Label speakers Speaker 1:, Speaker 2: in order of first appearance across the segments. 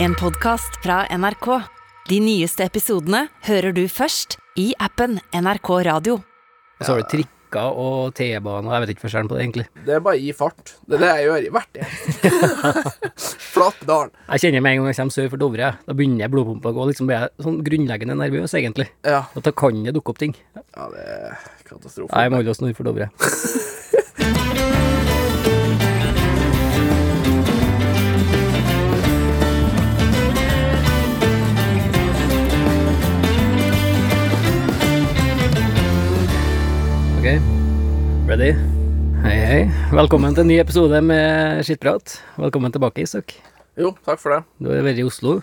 Speaker 1: En podcast fra NRK. De nyeste episodene hører du først i appen NRK Radio.
Speaker 2: Og så har du trikker og T-baner, og jeg vet ikke forskjellen på det, egentlig.
Speaker 3: Det er bare å gi fart. Det er det jeg gjør i hvert eneste Flatdalen.
Speaker 2: Jeg kjenner med en gang jeg kommer sør for Dovre, jeg. da begynner blodpumpa å gå, liksom blir jeg sånn grunnleggende nervøs, egentlig.
Speaker 3: Ja.
Speaker 2: Og da kan det dukke opp ting.
Speaker 3: ja, det er katastrofe.
Speaker 2: Nei, Jeg må holde oss nord for Dovre. Ok, ready? Hei, hei. Velkommen til en ny episode med Skittprat. Velkommen tilbake, Isak.
Speaker 3: Jo, takk for det.
Speaker 2: Du har vært i Oslo.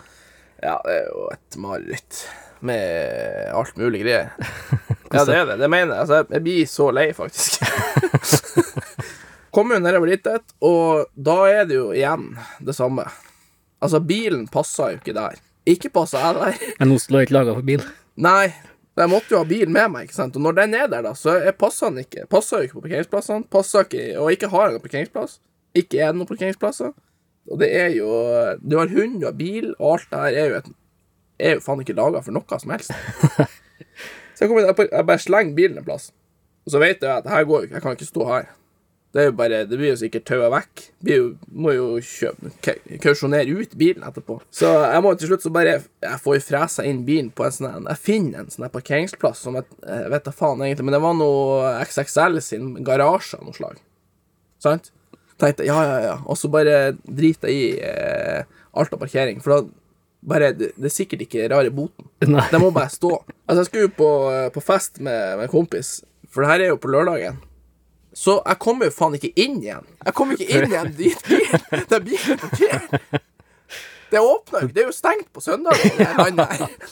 Speaker 3: Ja, det er jo et mareritt med alt mulig greier. Ja, det er det. Det mener jeg. Altså, jeg- jeg blir så lei, faktisk. Kom jo nedover dit, et, og da er det jo igjen det samme. Altså, bilen passa jo ikke der. Ikke passa jeg der.
Speaker 2: Men Oslo er ikke laga for bil.
Speaker 3: Nei, jeg måtte jo ha bil med meg, ikke sant? Og når den er der, da, så er- passer den ikke. Passer jo ikke på parkeringsplassene, passer ikke Og ikke har jeg noen parkeringsplass. Ikke er det noen parkeringsplasser. Og det er jo Du har hund, du har bil, og alt det her er jo et Er jo faen ikke laga for noe som helst. så jeg, kommer, inn, jeg bare- jeg bare slenger bilen en plass. Og så vet jeg at her går jo ikke, jeg kan ikke stå her. Det er jo bare, det blir jo sikkert taua vekk. Blir jo, må jo kjøpe, ka- kausjonere ut bilen etterpå. Så jeg må til slutt så bare Jeg får jo fresa inn bilen på en sånn en- Jeg finner en sånn her parkeringsplass som jeg, jeg vet da faen egentlig, men det var noe XXL sin garasje av noe slag. Sant? Tenkte jeg, ja, ja, ja. Og så bare driter jeg i eh, Alta parkering, for da bare Det, det er sikkert ikke rare boten.
Speaker 2: Nei.
Speaker 3: Det må bare stå. Altså, jeg skulle jo på, på fest med, med en kompis, for det her er jo på lørdagen. Så jeg kom jo faen ikke inn igjen. Jeg kom ikke inn igjen dit bilen Der bilen parkert. Det åpna jo ikke. Det er jo stengt på søndag.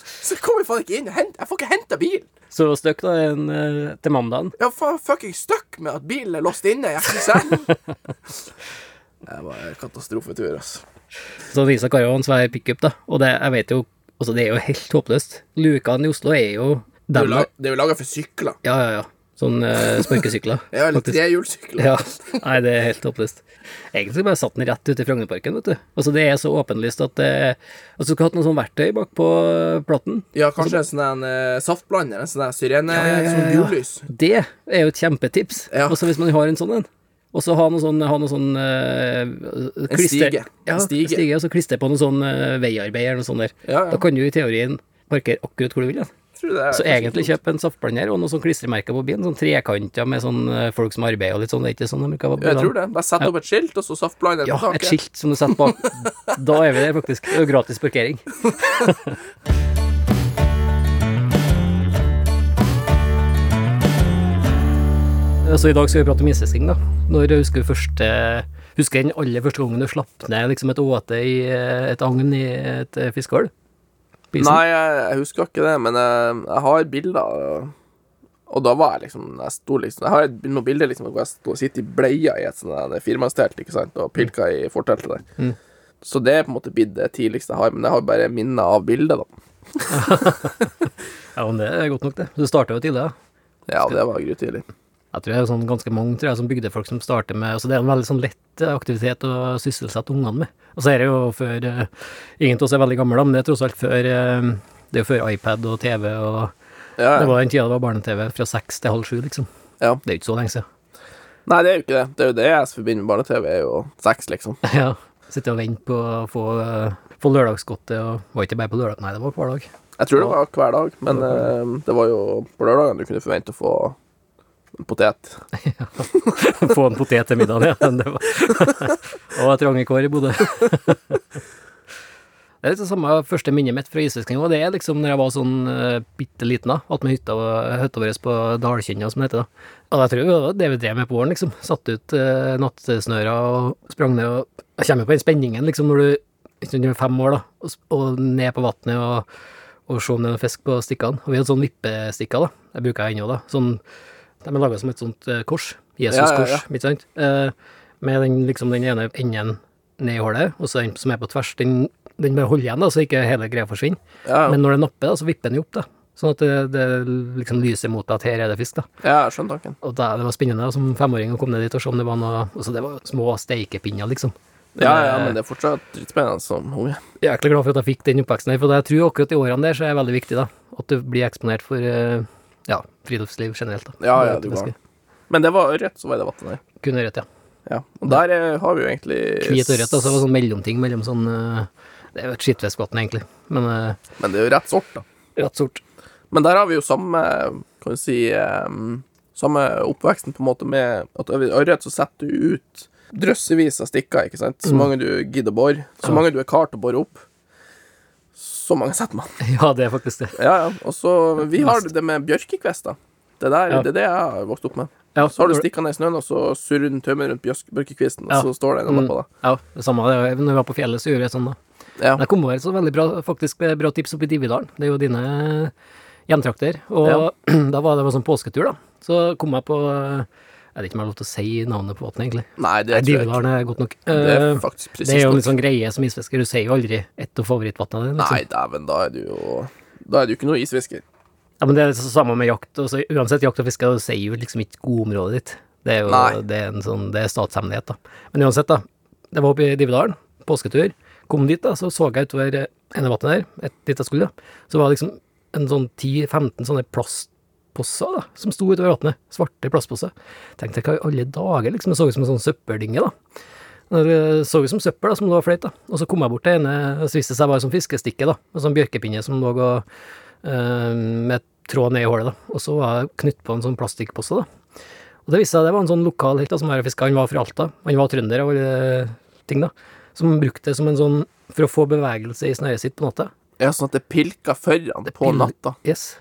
Speaker 3: Så jeg kom jo faen ikke inn. Jeg hent- Jeg får ikke henta bilen.
Speaker 2: Så støkk da en, eh, til mandagen.
Speaker 3: Jeg er faen fucking stuck med at bilen er låst inne i XXL. Det var en katastrofetur, altså.
Speaker 2: Så Isak har jo en svær pickup, da. Og det, jeg vet jo, altså det er jo helt håpløst. Lukene i Oslo er jo
Speaker 3: Det er jo
Speaker 2: dem.
Speaker 3: lag- det er jo laga for sykler.
Speaker 2: Ja, ja, ja. Sånn uh, sparkesykler.
Speaker 3: Ja, eller
Speaker 2: faktisk.
Speaker 3: trehjulssykler.
Speaker 2: Ja. Nei, det er helt håpløst. Egentlig bare satt den rett ute i Frognerparken, vet du. Altså, det er så åpenlyst at det Altså, du skulle hatt noe sånn verktøy bak på eh, platten.
Speaker 3: Ja, kanskje en sånn en, eh, saftblander, en sånn der syrene, sånn gullys.
Speaker 2: Det er jo et kjempetips.
Speaker 3: Ja.
Speaker 2: Og så hvis man har en sånn en, og så ha noe sånn, ha noe sånn eh, klister-
Speaker 3: stige. En
Speaker 2: Ja,
Speaker 3: stige.
Speaker 2: stige. og så klistre på noe sånn eh, veiarbeid eller noe sånt der.
Speaker 3: Ja, ja.
Speaker 2: Da kan du i teorien parkere akkurat hvor du vil. Ja.
Speaker 3: Tror du det er-
Speaker 2: Så egentlig kjøp en saftblander og noen sånn klistremerker på bilen, sånn trekanter med sånn eh, folk som arbeider og litt sånn, det er ikke sånn de bruker å ha på
Speaker 3: Ja, Jeg tror
Speaker 2: bilene.
Speaker 3: det. Bare sett opp et skilt, og så saftblander
Speaker 2: Ja,
Speaker 3: på taket.
Speaker 2: et skilt som du setter bak. Da er vi der, faktisk. Det er jo gratis parkering. Så i dag skal vi prate om isfisking, da. Når husker du første Husker den aller første gangen du slapp ned liksom et åte i eh, et agn i et eh, fiskehull? På isen?
Speaker 3: Nei, jeg, jeg husker ikke det, men jeg, jeg har bilder. og- Og da var jeg liksom Jeg, sto liksom, jeg har et- noen bilder liksom, hvor jeg sto og sitter i bleia i et sånt der firmannstelt ikke sant, og pilka i forteltet der.
Speaker 2: Mm.
Speaker 3: Så det er på en måte blitt det tidligste jeg har, men jeg har bare minner av bildet, da.
Speaker 2: Ja, men det er godt nok, det. Du starta jo tidlig, da.
Speaker 3: Ja, det var grytidlig.
Speaker 2: Jeg tror det er sånn ganske mange tror jeg, som bygdefolk som starter med altså Det er en veldig sånn lett eh, aktivitet å sysselsette ungene med. Og så er det jo før eh, Ingen av oss er veldig gamle, da, men det er tross alt før eh, Det er jo før iPad og TV og
Speaker 3: Ja,
Speaker 2: Det
Speaker 3: ja.
Speaker 2: var den tida det var barne-TV, fra seks til halv sju, liksom.
Speaker 3: Ja.
Speaker 2: Det er jo ikke så lenge siden.
Speaker 3: Nei, det er jo ikke det. Det er jo det jeg forbinder med barne-TV, er jo sex, liksom.
Speaker 2: ja. Sitte og vente på å få, eh, få lørdagsgodtet, og var ikke bare på lørdag, nei, det var hver dag.
Speaker 3: Jeg tror det var hver dag, men eh, det var jo på lørdagene du kunne forvente å få en potet.
Speaker 2: Få en potet til middagen, ja. Men det var... og et rangekår i Bodø. det er litt det samme første minnet mitt fra isfisking. Og det er liksom når jeg var sånn uh, bitte liten, da. Attmed hytta, eh, hytta vår på Dalkinna, som det heter. da. Og jeg tror det var det vi drev med på våren, liksom. Satt ut eh, nattsnøra og sprang ned. og Jeg kommer jo på den spenningen, liksom, når du hvis du er fem år, da, og, s- og ned på vannet og, og se om det er noe fisk på stikkene. Og vi hadde sånn vippestikker, da. Det bruker jeg ennå, da. Sånn, de er laga som et sånt eh, kors.
Speaker 3: Ja, ja,
Speaker 2: Jesus-kors,
Speaker 3: ja.
Speaker 2: ikke sant? Eh, med den, liksom, den ene enden ned i hullet, og så den som er på tvers, den, den bare holder igjen, da, så ikke hele greia forsvinner.
Speaker 3: Ja, ja.
Speaker 2: Men når det napper, da, så vipper den jo opp, da. Sånn at det, det liksom lyser mot deg at her er det fisk, da.
Speaker 3: ja, jeg skjønner tanken.
Speaker 2: Og da, det var spennende da, som femåring å komme ned dit og se om det var noe altså Det var jo små steikepinner, liksom.
Speaker 3: Ja, ja, men eh, det er fortsatt dritspennende som unge.
Speaker 2: Jeg er jæklig glad for at jeg fikk den oppveksten her, for jeg tror akkurat i årene der så er det veldig viktig da, at du blir eksponert for eh, ja, friluftsliv generelt. da.
Speaker 3: Ja, ja,
Speaker 2: Det
Speaker 3: du
Speaker 2: er
Speaker 3: går.
Speaker 2: ganske-
Speaker 3: Men det var ørret som var i det vannet der.
Speaker 2: Kun ørret, ja.
Speaker 3: Ja. Og der eh, har vi jo egentlig
Speaker 2: Hvit ørret, altså det var sånn mellomting mellom sånn eh, Det er jo et skittfiskvann, egentlig, men eh,
Speaker 3: Men det er jo rett sort, da.
Speaker 2: rett sort.
Speaker 3: Men der har vi jo samme Kan vi si eh, Samme oppveksten på en måte med at ved ørret så setter du ut drøssevis av stikker, ikke sant. Så mange du gidder å bore. Så mange du er kar til å bore opp. Så mange setter man.
Speaker 2: Ja, det er faktisk det.
Speaker 3: Ja, ja. Og så Vi har det med bjørkekvist, da. Det, der,
Speaker 2: Ja.
Speaker 3: det er det jeg har vokst opp med.
Speaker 2: Ja,
Speaker 3: Så har du stikka ned i snøen, og så surrer du tømmer rundt bjørk- bjørkekvisten, og
Speaker 2: Ja.
Speaker 3: så står det en annen på deg.
Speaker 2: Ja, det samme. Det, er jo- når vi var på fjellet, så gjorde jeg sånn, da.
Speaker 3: Ja.
Speaker 2: Men jeg kom over et så veldig bra, faktisk, eh, bra tips oppe i Dividalen. Det er jo dine eh, hjemtrakter. Og da var det var sånn påsketur, da. Så kom jeg på eh, Jeg vet ikke om jeg har lov til å si navnet på vannet, egentlig.
Speaker 3: Nei, det
Speaker 2: Nei,
Speaker 3: tror jeg ikke.
Speaker 2: Dividalen er godt nok.
Speaker 3: Det
Speaker 2: Eh,
Speaker 3: er faktisk
Speaker 2: Det er
Speaker 3: presis
Speaker 2: jo en
Speaker 3: nok.
Speaker 2: sånn greie som isfisker, du sier jo aldri et av favorittvanna dine.
Speaker 3: Nei,
Speaker 2: Liksom.
Speaker 3: dæven, da er du jo Da er du ikke noe isfisker.
Speaker 2: Ja, men det er det samme med jakt. Og så, uansett jakt og fiske, du sier jo liksom ikke området ditt. Det er jo
Speaker 3: Nei.
Speaker 2: det er en sånn, det er statshemmelighet, da. Men uansett, da. Det var oppe i Dividalen, påsketur. Kom dit, da, så så jeg utover eh, ene vannet der, et, dit jeg skulle, da. Så var det liksom en sånn 10-15 sånne plastposser da, som sto utover vannet. Svarte plastposser. Tenkte jeg, hva i alle dager, liksom. Det så ut som en sånn søppeldynge, da. Det så ut som søppel da, som lå og fløyt. da. Og så kom jeg bort til ene, og så viste det seg bare som fiskestikke. da, En sånn bjørkepinne som lå og, eh, med tråd ned i hullet. da. Og så var jeg knytt på en sånn plastikkpose. da. Og det viste seg det var en sånn lokal helt da, som jeg fiska. Han var fra Alta. Han var trønder og alle ting, da. Som brukte det som en sånn for å få bevegelse i snøret sitt på natta.
Speaker 3: Ja, sånn at det pilker foran på
Speaker 2: pil-
Speaker 3: natta.
Speaker 2: Yes.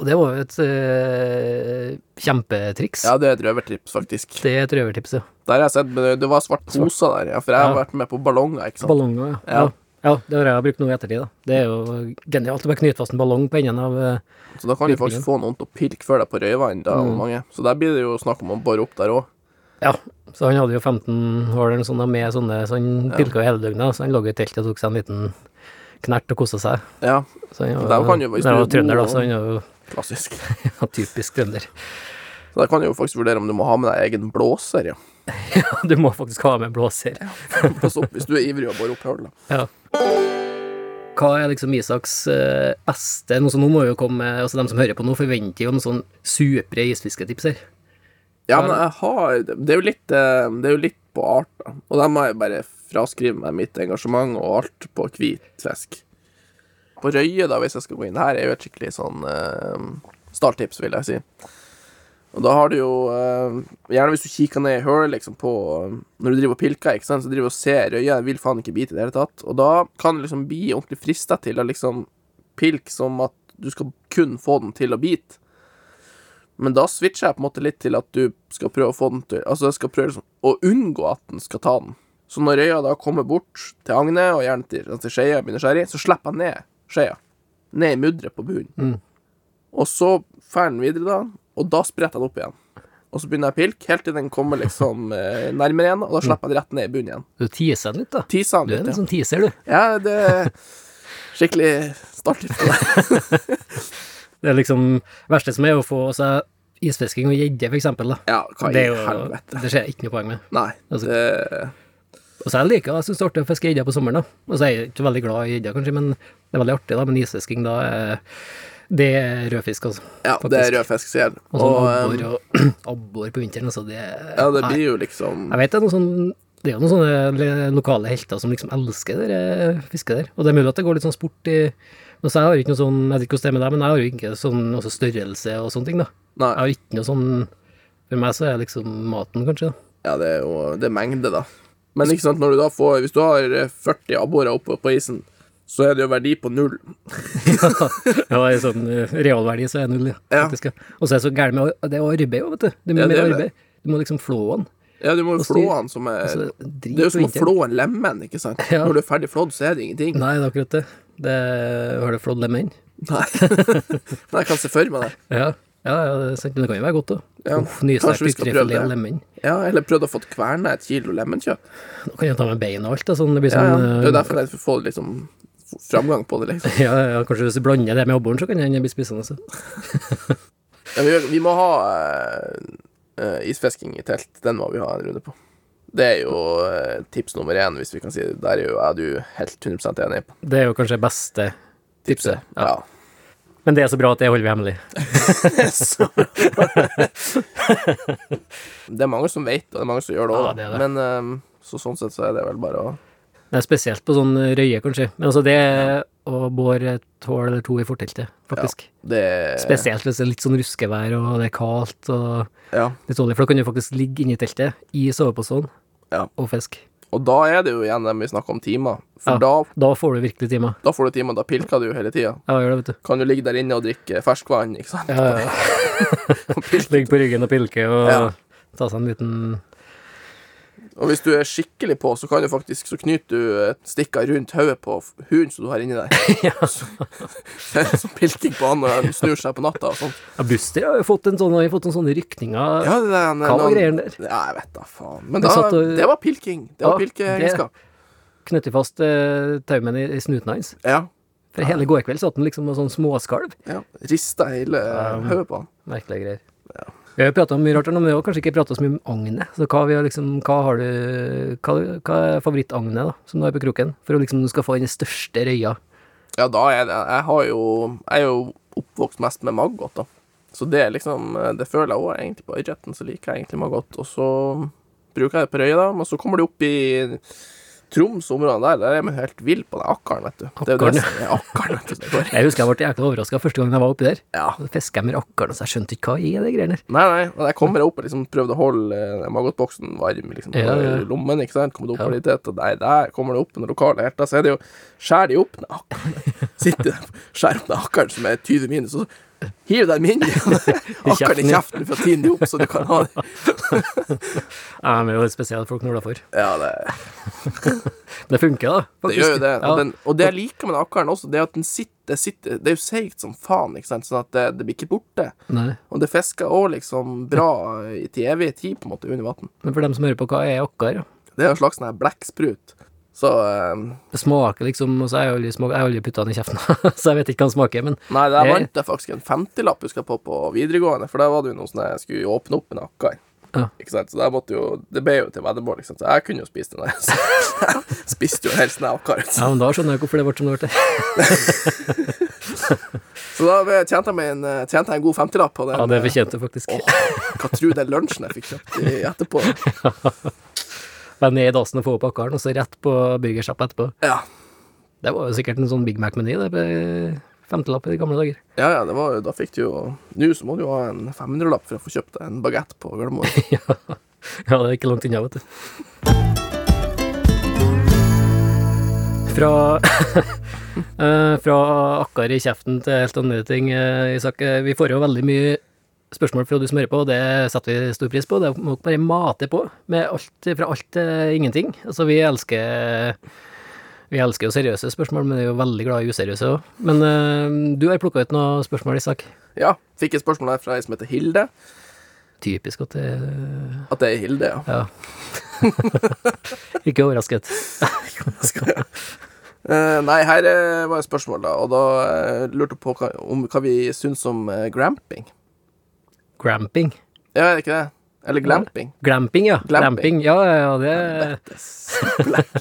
Speaker 2: Og det var jo et eh, kjempetriks.
Speaker 3: Ja, det er et røvertips, faktisk.
Speaker 2: Det er et røvertips, ja.
Speaker 3: Der har jeg sett, men det- det var svart pose der, ja, for jeg har
Speaker 2: Ja.
Speaker 3: vært med på ballonger, ikke sant.
Speaker 2: Ballonger, ja.
Speaker 3: Ja.
Speaker 2: ja. Ja, det har jeg brukt nå i ettertid. da. Det er jo genialt å bare knyte fast en ballong på enden av eh,
Speaker 3: Så da kan du faktisk få noen til å pirke før deg på røyvann, da,
Speaker 2: Mm.
Speaker 3: og mange. Så der blir det jo snakk om å bore opp der òg.
Speaker 2: Ja, så han hadde jo 15 hull eller noe sånt da, med sånne, så han pilka jo hele døgnet. Så han lå i teltet og tok seg en liten knert og kosa seg.
Speaker 3: Ja,
Speaker 2: Så han
Speaker 3: der
Speaker 2: var,
Speaker 3: kan jo- hvis
Speaker 2: han
Speaker 3: du
Speaker 2: var
Speaker 3: er
Speaker 2: trønder, da,
Speaker 3: god,
Speaker 2: så han var jo
Speaker 3: klassisk.
Speaker 2: ja, typisk trønder.
Speaker 3: Så der kan du jo faktisk vurdere om du må ha med deg egen blåser, ja.
Speaker 2: Du må faktisk ha med blåser.
Speaker 3: Pass opp hvis du er ivrig og borer opp hull, da.
Speaker 2: Ja. Hva er liksom Isaks eh, beste noe sånn, Nå må jo komme altså De som hører på nå, forventer jo noen sånn supre isfisketips her.
Speaker 3: Ja, men jeg har Det er jo litt, eh, det er jo litt på art, da. Og da må jeg bare fraskrive meg mitt engasjement og alt på hvit fisk. På røye, da, hvis jeg skal gå inn her, er jo et skikkelig sånn eh, starttips, vil jeg si. Og da har du jo eh, Gjerne hvis du kikker ned i hølet, liksom, på eh, Når du driver og pilker, ikke sant, så driver du og ser røya, vil faen ikke bite i det hele tatt. Og da kan du liksom bli ordentlig frista til å liksom pilke som at du skal kun få den til å bite. Men da switcher jeg på en måte litt til at du skal prøve å få den til Altså jeg skal prøve liksom, å unngå at den skal ta den. Så når øya da kommer bort til agnet, og gjerne til, altså til skeia begynner å skjære i, så slipper jeg ned skeia. Ned i mudderet på bunnen.
Speaker 2: Mm.
Speaker 3: Og så fer den videre, da, og da spretter jeg den opp igjen. Og så begynner jeg å pilke helt til den kommer liksom eh, nærmere igjen, og da slipper jeg den rett ned i bunnen igjen.
Speaker 2: Du teaser den litt, da.
Speaker 3: Tisa den
Speaker 2: Du er en
Speaker 3: litt, ja.
Speaker 2: sånn teaser, du.
Speaker 3: ja. Det er skikkelig starttips på det.
Speaker 2: Det er liksom verste som er å få seg isfisking og gjedde, for eksempel. Da.
Speaker 3: Ja, hva
Speaker 2: Det
Speaker 3: i
Speaker 2: er jo
Speaker 3: helvete.
Speaker 2: Det ser jeg ikke noe poeng med.
Speaker 3: Nei,
Speaker 2: Altså-
Speaker 3: det
Speaker 2: Og så jeg liker jeg syns det er artig å fiske gjedde på sommeren, da. Og så er jeg ikke veldig glad i gjedde, kanskje, men det er veldig artig, da. Men isfisking, da er det er rødfisk, altså.
Speaker 3: Ja, det er
Speaker 2: Faktisk.
Speaker 3: rødfisk, sier jeg.
Speaker 2: Og sånn
Speaker 3: Og, eh, um,
Speaker 2: abbor og abbor på vinteren, altså. Det er
Speaker 3: Ja, det
Speaker 2: Nei.
Speaker 3: blir jo liksom
Speaker 2: Jeg vet det er noen sånn det er jo noen sånne le- lokale helter som liksom elsker det der, eh, fisket der. Og det er mulig at det går litt sånn sport i men så Jeg har jo ikke noe sånn, jeg vet ikke hvordan det er med deg, men jeg har jo ikke sånn også størrelse og sånne ting, da.
Speaker 3: Nei,
Speaker 2: Jeg har ikke noe sånn For meg så er liksom maten, kanskje. da.
Speaker 3: ja, det er jo det er mengde, da. Men ikke sant, når du da får Hvis du har eh, 40 abborer oppe på isen, så er det jo verdi på null.
Speaker 2: ja, I sånn eh, realverdi så er det null, ja.
Speaker 3: Ja.
Speaker 2: faktisk. Ja. Og så er det så gærent med å- Det er arbeid òg, vet du. Det er
Speaker 3: Ja,
Speaker 2: mye
Speaker 3: det
Speaker 2: mer
Speaker 3: er det.
Speaker 2: arbeid. Du må liksom flå den.
Speaker 3: Ja, du må jo
Speaker 2: Og
Speaker 3: flå
Speaker 2: styr.
Speaker 3: den som er
Speaker 2: Altså,
Speaker 3: Det er jo som å flå en lemen, ikke sant.
Speaker 2: Ja.
Speaker 3: Når du er ferdig flådd, så er det ingenting.
Speaker 2: Nei, det er akkurat det. det er- har du flådd lemen?
Speaker 3: Nei. Nei, jeg kan se for meg det.
Speaker 2: Ja. Ja, ja, det er sant, men det kan jo være godt, da.
Speaker 3: Ja,
Speaker 2: Uff,
Speaker 3: kanskje vi
Speaker 2: Nystekt
Speaker 3: skal prøve
Speaker 2: ytrefilet
Speaker 3: det.
Speaker 2: og lemen.
Speaker 3: Ja, eller prøvd å få kverna et kilo lemenkjøtt.
Speaker 2: Nå kan jeg ta med bein og alt, da, sånn det blir
Speaker 3: Ja, ja.
Speaker 2: sånn
Speaker 3: Det er jo
Speaker 2: eh,
Speaker 3: derfor jeg får liksom f- framgang på det, liksom.
Speaker 2: ja, ja, kanskje hvis du blander det med abboren, så kan den bli spissende. så.
Speaker 3: Ja, vi, vi må ha eh, eh, isfisking i telt. Den må vi ha en runde på. Det er jo eh, tips nummer én, hvis vi kan si det. Der er jo jeg og du helt 100 enig på
Speaker 2: Det er jo kanskje beste tipset. Ja.
Speaker 3: Ja.
Speaker 2: Men det er så bra at det holder vi hemmelig.
Speaker 3: Så- det er mange som vet, og det er mange som gjør det
Speaker 2: Ja,
Speaker 3: òg,
Speaker 2: det er det.
Speaker 3: men eh, så sånn sett så er det vel bare å
Speaker 2: Det er spesielt på sånn røye, kanskje. Men altså, det å bore et hull eller to i forteltet, faktisk.
Speaker 3: Det er
Speaker 2: Spesielt hvis det er litt sånn ruskevær og det er kaldt og
Speaker 3: Ja.
Speaker 2: litt dårlig, for da kan du faktisk ligge inni teltet i soveposen
Speaker 3: Ja.
Speaker 2: og fiske.
Speaker 3: Og da er det jo igjen dem vi snakker om timer. For
Speaker 2: Ja.
Speaker 3: da,
Speaker 2: Da får du virkelig timer.
Speaker 3: da får du timer, da pilker du jo hele tida.
Speaker 2: Ja, gjør det, vet du.
Speaker 3: Kan du ligge der inne og drikke ferskvann, ikke sant?
Speaker 2: Ja, ja. Ligge på ryggen og pilke og
Speaker 3: Ja.
Speaker 2: ta seg en liten
Speaker 3: Og hvis du er skikkelig på, så kan du faktisk Så knyter du eh, stikka rundt hodet på f- hunden som du har inni deg. Så- Det er sånn pilking på han når han snur seg på natta og sånt.
Speaker 2: Ja, Buster har jo fått en sånn, har jo fått noen sånne rykninger.
Speaker 3: Ja, det der,
Speaker 2: Hva var greien der?
Speaker 3: Ja, jeg vet da faen. Men
Speaker 2: Du
Speaker 3: da,
Speaker 2: satt og-
Speaker 3: det var pilking. Det var
Speaker 2: Ja,
Speaker 3: pilkeegenskap.
Speaker 2: Knyttet fast eh, taumen i, i snuten hans.
Speaker 3: Ja.
Speaker 2: For hele går kveld satt han liksom og sånn småskalv.
Speaker 3: ja. Rista hele eh, hodet på han.
Speaker 2: Merkelige greier. Vi har jo prata om mye rart, her nå, men vi har kanskje ikke prata så mye om agnet. Så hva, vi har liksom, hva, har du, hva, hva er favorittagnet da, som du har på kroken, for å liksom du skal få den største røya?
Speaker 3: Ja, da er det Jeg har jo Jeg er jo oppvokst mest med maggot, da. Så det er liksom eh, Det føler jeg òg, egentlig. På ørreten så liker jeg egentlig maggot. Og så bruker jeg det på røya, da. Men så kommer du opp i Troms, områdene der, der er man helt vill på den akkaren, vet du. Det
Speaker 2: Akkaren,
Speaker 3: er jo det som er akkaren, vet du. Det går.
Speaker 2: Jeg husker jeg ble jækla overraska første gang jeg var oppi der.
Speaker 3: Ja.
Speaker 2: Så Fiska med rakkeren, og så jeg skjønte ikke hva er det greiene der.
Speaker 3: Nei, nei. Og jeg kommer opp og liksom prøvde å holde eh, maggotboksen varm liksom,
Speaker 2: Ja, ja.
Speaker 3: i lommen. ikke sant? Kommer det opp
Speaker 2: Ja.
Speaker 3: på litt, og nei, der kommer det opp en lokale helter. Så er det jo Skjær de opp den akkeren. Sitter der, skjær opp den akkeren som er 20 minus, og så hiver de den inn i akkeren i
Speaker 2: ja.
Speaker 3: kjeften for å tine de opp, så du kan ha det.
Speaker 2: Ja, men det er jo litt spesielle folk nord for.
Speaker 3: Ja, det,
Speaker 2: Det funker, da.
Speaker 3: det gjør jo det.
Speaker 2: Ja.
Speaker 3: Og, den, og det jeg liker med den akkeren også, det er at den sitter, det sitter Det er jo seigt som faen, ikke sant, sånn at det, det blir ikke borte.
Speaker 2: Nei.
Speaker 3: Og det fisker òg liksom bra eh, til evig tid, på en måte, under vann.
Speaker 2: Men for dem som hører på, hva er akkar? da?
Speaker 3: Det er en slags sånn her blekksprut. Så eh,
Speaker 2: Det smaker liksom Og så har jeg aldri, smak- jeg har aldri putta den i kjeften, så jeg vet ikke hva den smaker, men
Speaker 3: Nei, der
Speaker 2: Eh.
Speaker 3: vant jeg faktisk en 50-lapp husker jeg på på videregående, for der var det jo noe sånn jeg skulle jo åpne opp en akkar.
Speaker 2: Ja.
Speaker 3: Ikke sant? Så der måtte jo, det ble jo til veddemål, ikke sant? så jeg kunne jo spist den der. Så jeg spiste jo en hel sånn her akkar.
Speaker 2: Ja, men da skjønner jeg hvorfor det ble som det ble.
Speaker 3: Så da ble- tjente jeg, meg en, eh, tjente jeg en god 50-lapp på den.
Speaker 2: Ja, det
Speaker 3: eh,
Speaker 2: fortjente du faktisk.
Speaker 3: Hva tror du den lunsjen jeg fikk kjøpt i etterpå?
Speaker 2: Bare ned i dassen og få opp akkaren, og så rett på burgersjappa etterpå.
Speaker 3: Ja.
Speaker 2: Det var jo sikkert en sånn Big Mac-meny, det, på femtelapp i gamle dager.
Speaker 3: Ja, ja, det var jo, da fikk du jo Nå så må du jo ha en 500-lapp for å få kjøpt deg en bagett på Gardermoen.
Speaker 2: Ja, det er ikke langt unna, vet du. Fra, eh, fra akkar i kjeften til helt andre ting, eh, Isak. eh, Vi får jo veldig mye spørsmål fra du som hører på, og det setter vi stor pris på. Det må dere bare mate på med alt fra alt til ingenting. Altså, vi elsker vi elsker jo seriøse spørsmål, men vi er jo veldig glad i useriøse òg. Men eh, du har plukka ut noen spørsmål, Isak.
Speaker 3: Ja. Fikk et spørsmål her fra ei som heter Hilde.
Speaker 2: Typisk at det
Speaker 3: At det er Hilde, ja.
Speaker 2: Ja. ikke overrasket.
Speaker 3: Skal jeg? Eh, nei, her eh, var et spørsmål, da. Og da eh, lurte jeg på hva, om hva vi syns om eh, gramping.
Speaker 2: Gramping.
Speaker 3: Ja, er det ikke det? Eller glamping.
Speaker 2: Glamping, ja. Glamping.
Speaker 3: Glamping.
Speaker 2: Ja, ja, ja, det
Speaker 3: Black.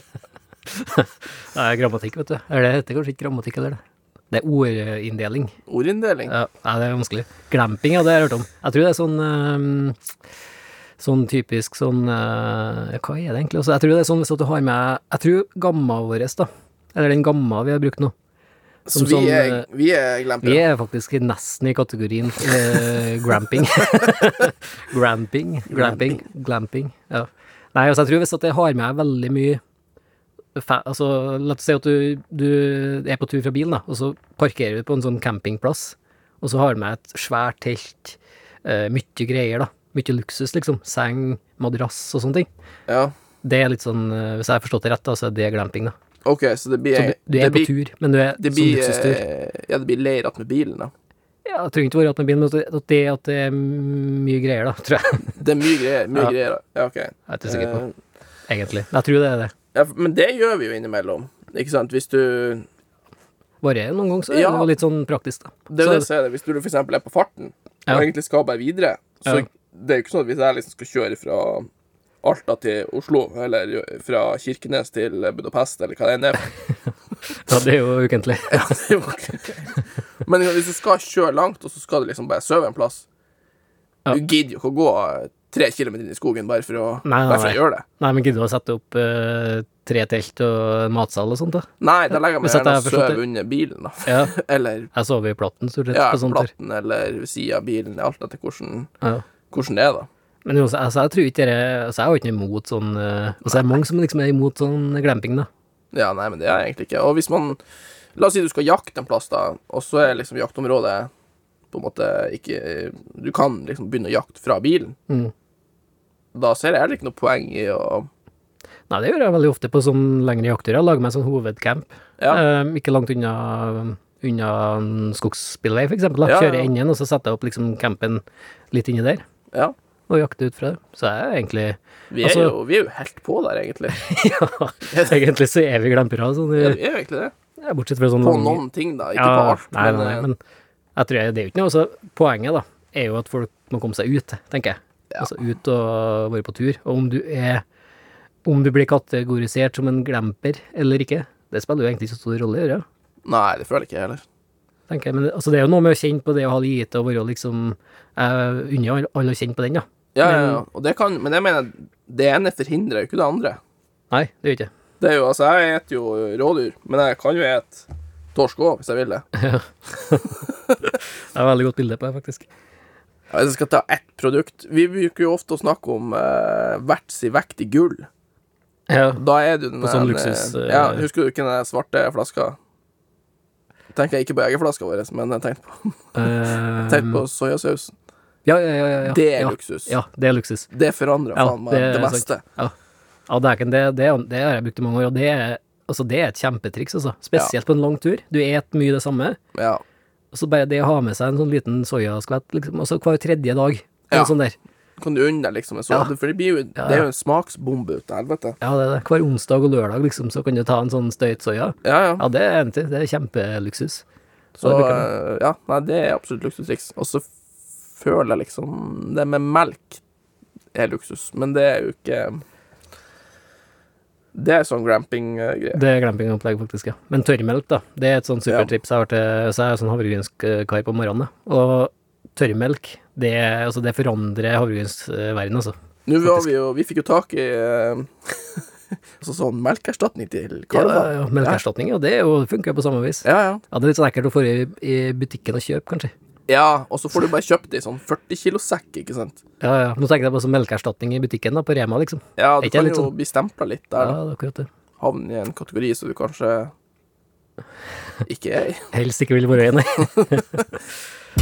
Speaker 2: det er grammatikk, vet du. Eller det heter kanskje ikke grammatikk heller, det. Det er ordinndeling.
Speaker 3: Ordinndeling.
Speaker 2: Ja, nei, det er vanskelig. Glamping, ja, det har jeg hørt om. Jeg tror det er sånn ehm, Sånn typisk sånn eh, ja, Hva er det egentlig? Altså, jeg tror det er sånn hvis at du har med Jeg tror gamma vår, da. Eller den gamma vi har brukt nå.
Speaker 3: Så
Speaker 2: som
Speaker 3: vi
Speaker 2: sånn,
Speaker 3: er,
Speaker 2: eh,
Speaker 3: vi er glamper.
Speaker 2: Vi er faktisk nesten i kategorien eh, gramping. gramping. Gramping. Glamping. Ja. Nei, altså, jeg tror hvis at jeg har med veldig mye fa altså, La oss si at du, du er på tur fra bilen, da, og så parkerer du på en sånn campingplass, og så har du med et svært telt, eh, mye greier, da. Mye luksus, liksom. Seng, madrass og sånne ting.
Speaker 3: Ja.
Speaker 2: Det er litt sånn, eh, hvis jeg har forstått det rett, da, så er det glamping, da.
Speaker 3: OK, så det blir
Speaker 2: Så du, du er
Speaker 3: det
Speaker 2: på
Speaker 3: blir,
Speaker 2: tur, men du er
Speaker 3: det
Speaker 2: sånn
Speaker 3: blir,
Speaker 2: luksustur.
Speaker 3: eh, ja, det blir leir att med bilen, da.
Speaker 2: Ja, det trenger ikke være at med bilen, men at det, at det er mye greier, da, tror jeg.
Speaker 3: Det er mye greier. Mye
Speaker 2: Ja.
Speaker 3: greier da. ja, ok.
Speaker 2: Jeg er ikke sikker på,
Speaker 3: Eh,
Speaker 2: egentlig. Jeg tror det er det.
Speaker 3: ja, men det gjør vi jo innimellom. Ikke sant? Hvis du
Speaker 2: Varierer noen ganger, så er
Speaker 3: Ja.
Speaker 2: det jo litt sånn praktisk, da.
Speaker 3: Det er
Speaker 2: Så-
Speaker 3: jo det som er det. Hvis du for eksempel er på farten, og
Speaker 2: Ja.
Speaker 3: egentlig skal bare videre, så
Speaker 2: Ja.
Speaker 3: det er jo ikke sånn at hvis jeg liksom skal kjøre fra Alta til Oslo, eller jo- fra Kirkenes til Budapest, eller hva det enn er.
Speaker 2: Ja, det er jo ukentlig.
Speaker 3: Det er jo ok. Men hvis du skal kjøre langt, og så skal du liksom bare sove en plass
Speaker 2: Ja.
Speaker 3: Du gidder jo ikke å gå tre kilometer inn i skogen bare for å,
Speaker 2: Nei, nei,
Speaker 3: bare for
Speaker 2: nei.
Speaker 3: å gjøre det.
Speaker 2: Nei, men gidder du å sette opp eh, tre telt og en matsal og sånt, da?
Speaker 3: Nei, da legger jeg
Speaker 2: Hvis at
Speaker 3: meg gjerne
Speaker 2: jeg
Speaker 3: og
Speaker 2: har forstått
Speaker 3: sover under bilen, da.
Speaker 2: Ja.
Speaker 3: Eller
Speaker 2: Jeg sover i platten, stort sett,
Speaker 3: ja,
Speaker 2: på sånt der.
Speaker 3: platten, eller ved sida av bilen, alt etter hvordan,
Speaker 2: Ja.
Speaker 3: hvordan det er, da.
Speaker 2: Men jo, altså, jeg tror ikke det altså, Jeg er jo ikke imot sånn eh, Altså, det er mange som liksom er imot sånn glamping, da.
Speaker 3: Ja, nei, men det er jeg egentlig ikke. Og hvis man La oss si du skal jakte en plass, da, og så er liksom jaktområdet på en måte ikke eh, Du kan liksom begynne å jakte fra bilen.
Speaker 2: Mm.
Speaker 3: Da ser jeg heller ikke noe poeng i å
Speaker 2: Nei, det gjør jeg veldig ofte på sånn lengre jakter. Jeg lager meg sånn hovedcamp.
Speaker 3: Ja.
Speaker 2: Eh, ikke langt unna, unna en skogsbilvei, for eksempel. Da.
Speaker 3: Ja, ja,
Speaker 2: Kjører
Speaker 3: ja.
Speaker 2: jeg inn igjen, og så setter jeg opp liksom campen litt inni der,
Speaker 3: Ja.
Speaker 2: og jakter ut fra det. Så jeg er egentlig
Speaker 3: Vi er,
Speaker 2: Altså-
Speaker 3: jo, vi er jo helt på der, egentlig.
Speaker 2: Ja, egentlig så er vi glampere, sånn,
Speaker 3: Ja,
Speaker 2: i-
Speaker 3: vi er jo egentlig det.
Speaker 2: ja, bortsett fra sånn
Speaker 3: På
Speaker 2: lang-
Speaker 3: noen ting, da. Ikke på
Speaker 2: Ja,
Speaker 3: alt.
Speaker 2: nei,
Speaker 3: men,
Speaker 2: nei,
Speaker 3: eh,
Speaker 2: nei, men jeg tror jeg, det er jo ikke noe. Altså, poenget da, er jo at folk må komme seg ut, tenker jeg.
Speaker 3: Ja.
Speaker 2: Altså ut og være på tur. Og om du er om du blir kategorisert som en glemper eller ikke, det spiller jo egentlig ikke så stor rolle, gjør det?
Speaker 3: nei, det føler jeg ikke jeg heller.
Speaker 2: tenker jeg. Men altså, det er jo noe med å kjenne på det å ha lite og være liksom eh, unna alle å kjenne på den, da.
Speaker 3: Ja, ja, ja. Og det kan, men jeg mener, det ene forhindrer jo ikke det andre.
Speaker 2: Nei, det gjør ikke det.
Speaker 3: Det er jo, altså, Jeg spiser jo rådyr, men jeg kan jo spise torsk òg, hvis jeg vil det.
Speaker 2: Det er et veldig godt bilde på det, faktisk.
Speaker 3: Ja, Hvis jeg skal ta ett produkt Vi bruker jo ofte å snakke om eh, hvert sin vekt i gull.
Speaker 2: Ja.
Speaker 3: Da er du den
Speaker 2: På sånn
Speaker 3: den,
Speaker 2: luksus,
Speaker 3: eh,
Speaker 2: eh,
Speaker 3: Ja, Husker du ikke den der svarte flaska? Tenker jeg ikke på egerflaska vår, men jeg tenkte på,
Speaker 2: Eh,
Speaker 3: tenkte på soyasausen.
Speaker 2: ja, ja, ja, ja, ja.
Speaker 3: Det er
Speaker 2: ja.
Speaker 3: luksus.
Speaker 2: Ja, det er luksus.
Speaker 3: Det forandrer
Speaker 2: Ja,
Speaker 3: faen meg
Speaker 2: det er
Speaker 3: det,
Speaker 2: sant.
Speaker 3: meste.
Speaker 2: Ja, det, er ikke, det, det, det har jeg brukt i mange år, og det er, altså, det er et kjempetriks, altså. Spesielt på en lang tur. Du et mye det samme,
Speaker 3: Ja.
Speaker 2: og så bare det å ha med seg en sånn liten soyaskvett, liksom, og så hver tredje dag. Ja.
Speaker 3: Ja.
Speaker 2: Sånn der.
Speaker 3: Kan du unne deg liksom en sånn?
Speaker 2: Ja.
Speaker 3: For det, blir jo, det er jo en smaksbombe ut av helvete.
Speaker 2: ja, det er det. Hver onsdag og lørdag, liksom, så kan du ta en sånn støyt soya.
Speaker 3: Ja, ja.
Speaker 2: Ja, det er enig til. Det er kjempeluksus.
Speaker 3: Så
Speaker 2: det bruker
Speaker 3: eh, ja, nei, det er absolutt luksustriks. Og så føler jeg liksom Det med melk er luksus, men det er jo ikke Det er sånn gramping-greie.
Speaker 2: Det er glampingopplegg, faktisk, ja. Men tørrmelk, da. Det er et sånn supertips jeg har til Så jeg er jo sånn havregrynskar på morgenen, da. og tørrmelk, det, er- altså, det forandrer havregrynsverdenen, altså.
Speaker 3: Nå var vi jo Vi fikk jo tak i eh, altså sånn melkeerstatning til
Speaker 2: Ja,
Speaker 3: kalver.
Speaker 2: ja, melkeerstatning, ja, det er jo- funker jo på samme vis.
Speaker 3: Ja, ja.
Speaker 2: Ja, det er litt sånn ekkelt å få i, i butikken og kjøpe, kanskje.
Speaker 3: ja, og så får du bare kjøpt det i sånn 40 kilo sekk, ikke sant?
Speaker 2: Ja, ja. Nå tenker jeg på sånn melkeerstatning i butikken, da, på Rema, liksom.
Speaker 3: Ja,
Speaker 2: Er
Speaker 3: du
Speaker 2: ikke
Speaker 3: kan
Speaker 2: det litt
Speaker 3: jo
Speaker 2: sånn-
Speaker 3: bli stempla litt
Speaker 2: Ja,
Speaker 3: der.
Speaker 2: det er akkurat det.
Speaker 3: havne i en kategori som du kanskje ikke er i.
Speaker 2: Helst ikke vil være enig.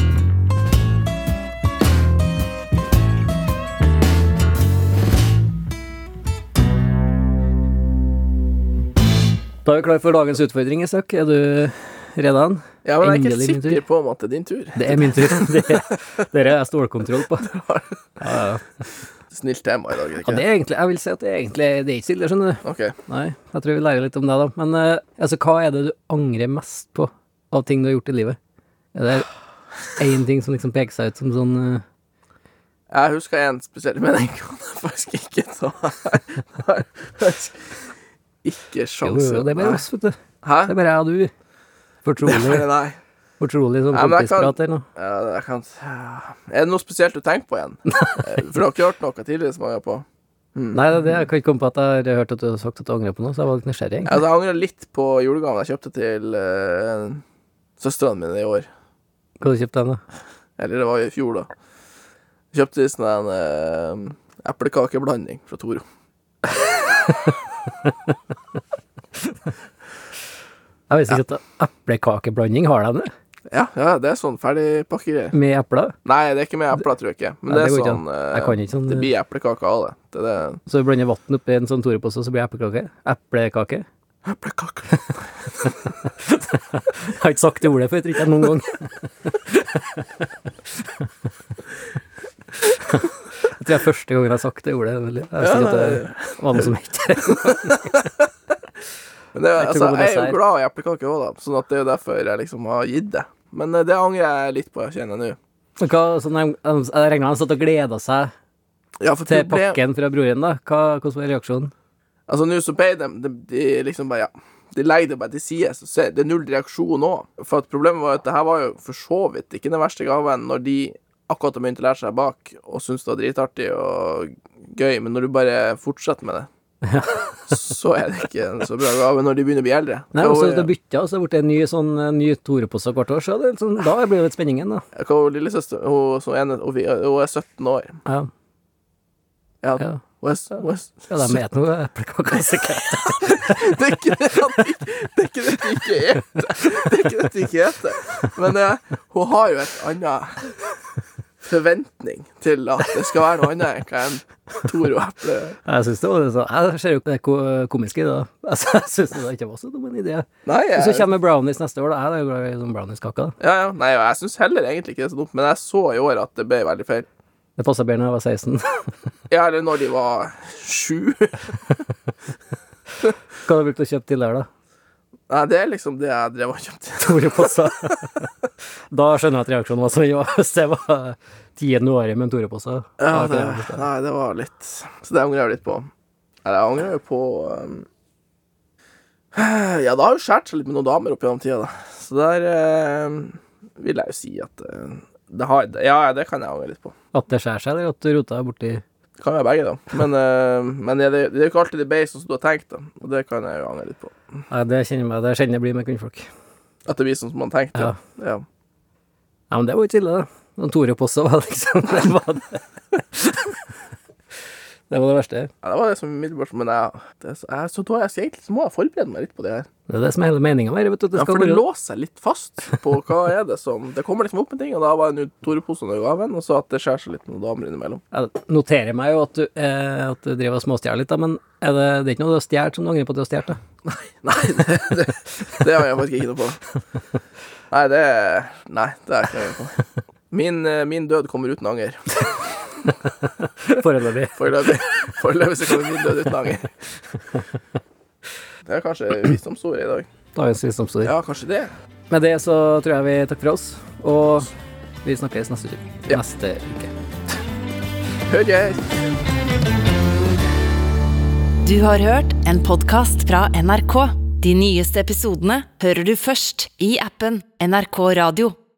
Speaker 2: Da er vi klar for dagens utfordring, Isak. Er du redan?
Speaker 3: Ja, men jeg er
Speaker 2: Endelig
Speaker 3: ikke
Speaker 2: min tur.
Speaker 3: sikker på om at det er din tur.
Speaker 2: Det er min tur. Det- Dere er jeg stålkontroll på. Ja, ja.
Speaker 3: Snilt tema i dag, er det
Speaker 2: ja,
Speaker 3: ikke?
Speaker 2: det er egentlig, jeg vil si at det er egentlig det er ikke stille, skjønner du.
Speaker 3: Ok.
Speaker 2: Nei, jeg tror vi lærer litt om deg, da. Men eh, altså, hva er det du angrer mest på av ting du har gjort i livet? Er det én ting som liksom peker seg ut som sånn eh,
Speaker 3: Jeg husker en spesiell, men den kan jeg faktisk ikke ta her. Nei, faktisk Ikke
Speaker 2: jo, jo,
Speaker 3: sjanse.
Speaker 2: Det er bare oss, vet du. Det
Speaker 3: Hæ?
Speaker 2: er bare jeg og du. Fortrolig,
Speaker 3: Nei.
Speaker 2: fortrolig sånn
Speaker 3: Ja, men jeg kan-
Speaker 2: kompisprat her nå.
Speaker 3: Ja, Jeg kan Er det noe spesielt du tenker på igjen? Eh, For du har ikke hørt noe tidligere som jeg angrer på? Mm.
Speaker 2: Nei, det, er det, jeg kan ikke komme på at jeg har hørt at du har sagt at du angrer på noe, så jeg var litt nysgjerrig. egentlig.
Speaker 3: Altså, jeg angrer litt på julegaven jeg kjøpte til uh, søstrene mine i år.
Speaker 2: Hva har du kjøpt den, da?
Speaker 3: Eller det var jo i fjor, da. Kjøpte sånn en eh, eplekakeblanding fra Toro.
Speaker 2: Jeg visste ikke at eplekakeblanding har de det,
Speaker 3: Ja, ja, det er sånn ferdigpakkegreier.
Speaker 2: med epler.
Speaker 3: Nei, det er ikke med epler, tror jeg ikke.
Speaker 2: Nei,
Speaker 3: Men det
Speaker 2: det
Speaker 3: er
Speaker 2: går ikke
Speaker 3: sånn eh,
Speaker 2: Jeg kan ikke sånn
Speaker 3: Det blir eplekake av det. Det er det.
Speaker 2: Så du blander vann oppi en sånn torepose, og så blir det eplekake? Eplekake?
Speaker 3: Eplekake.
Speaker 2: Jeg har ikke sagt det ordet før, tror ikke jeg noen gang. Jeg tror det er første gangen jeg har sagt det ordet. eller Jeg visste ikke at det var noe som het det.
Speaker 3: Men det, er-
Speaker 2: Jeg tror det
Speaker 3: altså,
Speaker 2: er
Speaker 3: jeg er
Speaker 2: dessert.
Speaker 3: jo glad i eplekake òg, da. Sånn at det er jo derfor jeg liksom har gitt det. Men eh, det angrer jeg litt på, jeg kjenner nå.
Speaker 2: altså, Men hva- sånn, Jeg jeg regner med han satt og gleda seg
Speaker 3: Ja, for
Speaker 2: til
Speaker 3: det ble-
Speaker 2: pakken fra broren, da? Hva, hvordan var reaksjonen?
Speaker 3: Altså, nå så ble de, de, de liksom bare, ja De legger det bare til side. Så ser- det er null reaksjon òg. For at problemet var at det her var jo for så vidt ikke den verste gaven når de akkurat har begynt å lære seg bak og syns det var dritartig og gøy, men når du bare fortsetter med det, så er det ikke en så bra gave når de begynner å bli eldre.
Speaker 2: Nei,
Speaker 3: Hva
Speaker 2: også,
Speaker 3: var-
Speaker 2: Det bytta, og så ble det en ny, sånn, en ny Tore-pose hvert år. Så det, er sånn, da blir det litt spenningen, da.
Speaker 3: Hva var lillesøster Hun som ene- hun vi- hun er 17 år.
Speaker 2: Ja,
Speaker 3: Ja,
Speaker 2: ja.
Speaker 3: hun er, s- hun er s-
Speaker 2: ja de vet noe altså. eplekaker, sikkert.
Speaker 3: Det er ikke det at ikke- det er ikke det de ikke heter. Det er ikke det de ikke heter. Men eh, hun har jo et annet forventning til at det skal være noe annet enn Tor og Eple.
Speaker 2: Jeg syns det var litt sånn Jeg ser jo det ko komiske i det. da. Altså, jeg syns det ikke var så dum en idé.
Speaker 3: Nei,
Speaker 2: Og så
Speaker 3: jeg,
Speaker 2: kommer brownies neste år, da. Jeg er jo glad i sånn brownies-kake. da.
Speaker 3: ja, ja, nei, og jeg syns heller egentlig ikke det er så dumt, men jeg så i år at det ble veldig feil.
Speaker 2: Det passa bedre da jeg var 16.
Speaker 3: Ja, eller når de var sju.
Speaker 2: Hva har du brukt å kjøpe tidligere, da?
Speaker 3: Nei, det er liksom det jeg drev og kjøpte.
Speaker 2: Tore-poser. da skjønner jeg at reaksjonen var sånn. Ja, hvis det var 10. januar med en Tore-pose
Speaker 3: Ja,
Speaker 2: da
Speaker 3: det,
Speaker 2: kan jeg forstå.
Speaker 3: nei, det var litt Så det angrer jeg litt på. Eller jeg angrer jo på um, Ja, det har jo skåret seg litt med noen damer opp gjennom tida, da. Så der um, vil jeg jo si at uh, det har, Ja, det kan jeg angre litt på.
Speaker 2: At det skjærer seg, eller at du rota borti
Speaker 3: Det kan være begge, da. Men, uh, men det, det er jo ikke alltid det ble sånn som du har tenkt, da. Og det kan jeg jo angre litt på.
Speaker 2: Nei, det kjenner meg, det kjenner jeg blir med kvinnfolk.
Speaker 3: At det blir sånn som man tenkte. Ja. ja.
Speaker 2: Nei, men det var jo ille, da. Noen Tore-poser var liksom Det var det. det var det verste.
Speaker 3: Ja, det var det som umiddelbart Men jeg, det, er så- jeg, så da, jeg, så egentlig så må jeg forberede meg litt på det her.
Speaker 2: Det er det som er hele meninga med det. vet du, at det
Speaker 3: Ja,
Speaker 2: skal
Speaker 3: for det
Speaker 2: være
Speaker 3: låser seg litt fast på hva er det som Det kommer liksom opp med ting, og da var det nå Tore-posen og gaven, og så at det skjærer seg litt med noen damer innimellom.
Speaker 2: Jeg noterer meg jo at du, eh, at du driver og småstjeler litt, da, men er det, det er ikke noe du har stjålet som du angrer på at du har stjålet? da?
Speaker 3: Nei, det, det, det har jeg faktisk ikke noe på. Nei, det Nei, det er ikke noe på. Min, eh, min død kommer uten anger.
Speaker 2: Foreløpig.
Speaker 3: Foreløpig foreløpig så kommer min død uten anger. Det er kanskje visdomsordet i dag.
Speaker 2: Dagens visdomsord.
Speaker 3: Ja, kanskje det.
Speaker 2: Med det så tror jeg vi takker for oss, og vi snakkes neste uke.
Speaker 3: Ja.
Speaker 2: Neste uke.
Speaker 3: Høres!
Speaker 1: Du har hørt en podkast fra NRK. De nyeste episodene hører du først i appen NRK Radio.